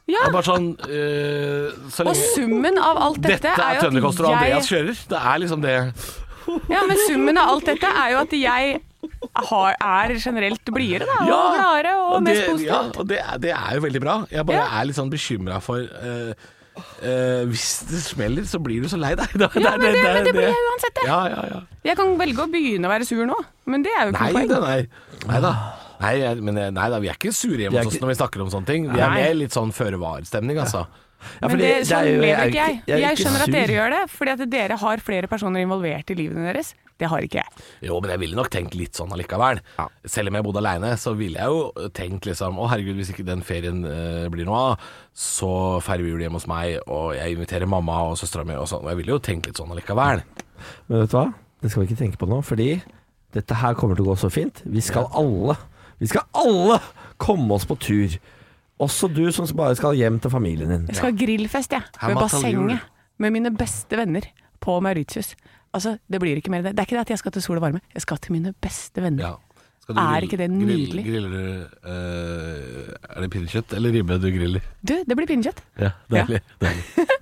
Speaker 3: Ja.
Speaker 2: Det er bare sånn eh, Så
Speaker 3: Og
Speaker 2: lenge
Speaker 3: summen av alt dette,
Speaker 2: Dette er
Speaker 3: jo at
Speaker 2: Thundercoaster og Andreas
Speaker 3: jeg
Speaker 2: kjører. Det er liksom det.
Speaker 3: Ja, men summen av alt dette er jo at jeg har, er generelt blidere, da.
Speaker 2: Ja,
Speaker 3: Og gladere og
Speaker 2: det,
Speaker 3: mest positiv.
Speaker 2: ja, og det, er- det er jo veldig bra. Jeg bare
Speaker 3: Ja.
Speaker 2: er litt sånn bekymra for eh, eh, Hvis det smeller, så blir du så lei deg. Det,
Speaker 3: Ja, men det,
Speaker 2: er
Speaker 3: men det blir jeg uansett, det.
Speaker 2: Ja, ja, ja.
Speaker 3: Jeg kan velge å begynne å være sur nå, men det er jo ikke
Speaker 2: Nei,
Speaker 3: noe poeng.
Speaker 2: det, nei. nei da. Nei, jeg- men, jeg- nei da, vi er ikke sure hjemme
Speaker 1: Vi er
Speaker 2: hos oss
Speaker 1: ikke-
Speaker 2: når vi snakker om sånne ting. Vi er
Speaker 3: Nei.
Speaker 2: mer litt sånn føre var-stemning, altså.
Speaker 1: Ja, fordi
Speaker 3: Men det,
Speaker 1: det er
Speaker 3: sånn
Speaker 1: jo-
Speaker 3: lever
Speaker 1: er
Speaker 3: ikke jeg.
Speaker 1: er jo
Speaker 3: Jeg
Speaker 1: ikke
Speaker 3: skjønner at
Speaker 1: sur.
Speaker 3: dere gjør det, fordi at dere har flere personer involvert i livene deres. Det har ikke jeg.
Speaker 2: Jo, men jeg ville nok tenkt litt sånn allikevel. Selv om jeg bodde aleine, så ville jeg jo tenkt liksom Å herregud, hvis ikke den ferien eh, blir noe av, så feirer vi jul hjemme hos meg, og jeg inviterer mamma og søstera mi og sånn. Og jeg ville jo tenkt litt sånn allikevel.
Speaker 1: Men vet du hva? Det skal vi ikke tenke på nå, fordi dette her kommer til å gå så fint. Vi skal alle Vi skal alle komme oss på tur. Også du som bare skal hjem til familien din.
Speaker 3: Jeg skal ha grillfest, jeg.
Speaker 2: Her
Speaker 3: Ved
Speaker 2: må jeg ta jul.
Speaker 3: bassenget. Med mine beste venner på Mauritius. Altså, det blir ikke mer enn det. Det er ikke det at jeg skal til sol og varme, jeg skal til mine beste venner.
Speaker 2: Ja. Skal
Speaker 3: Er ikke det nydelig?
Speaker 2: Griller du eh, Er det pinnekjøtt eller ribbe du griller?
Speaker 3: Du, det blir pinnekjøtt.
Speaker 2: Ja, deilig. deilig.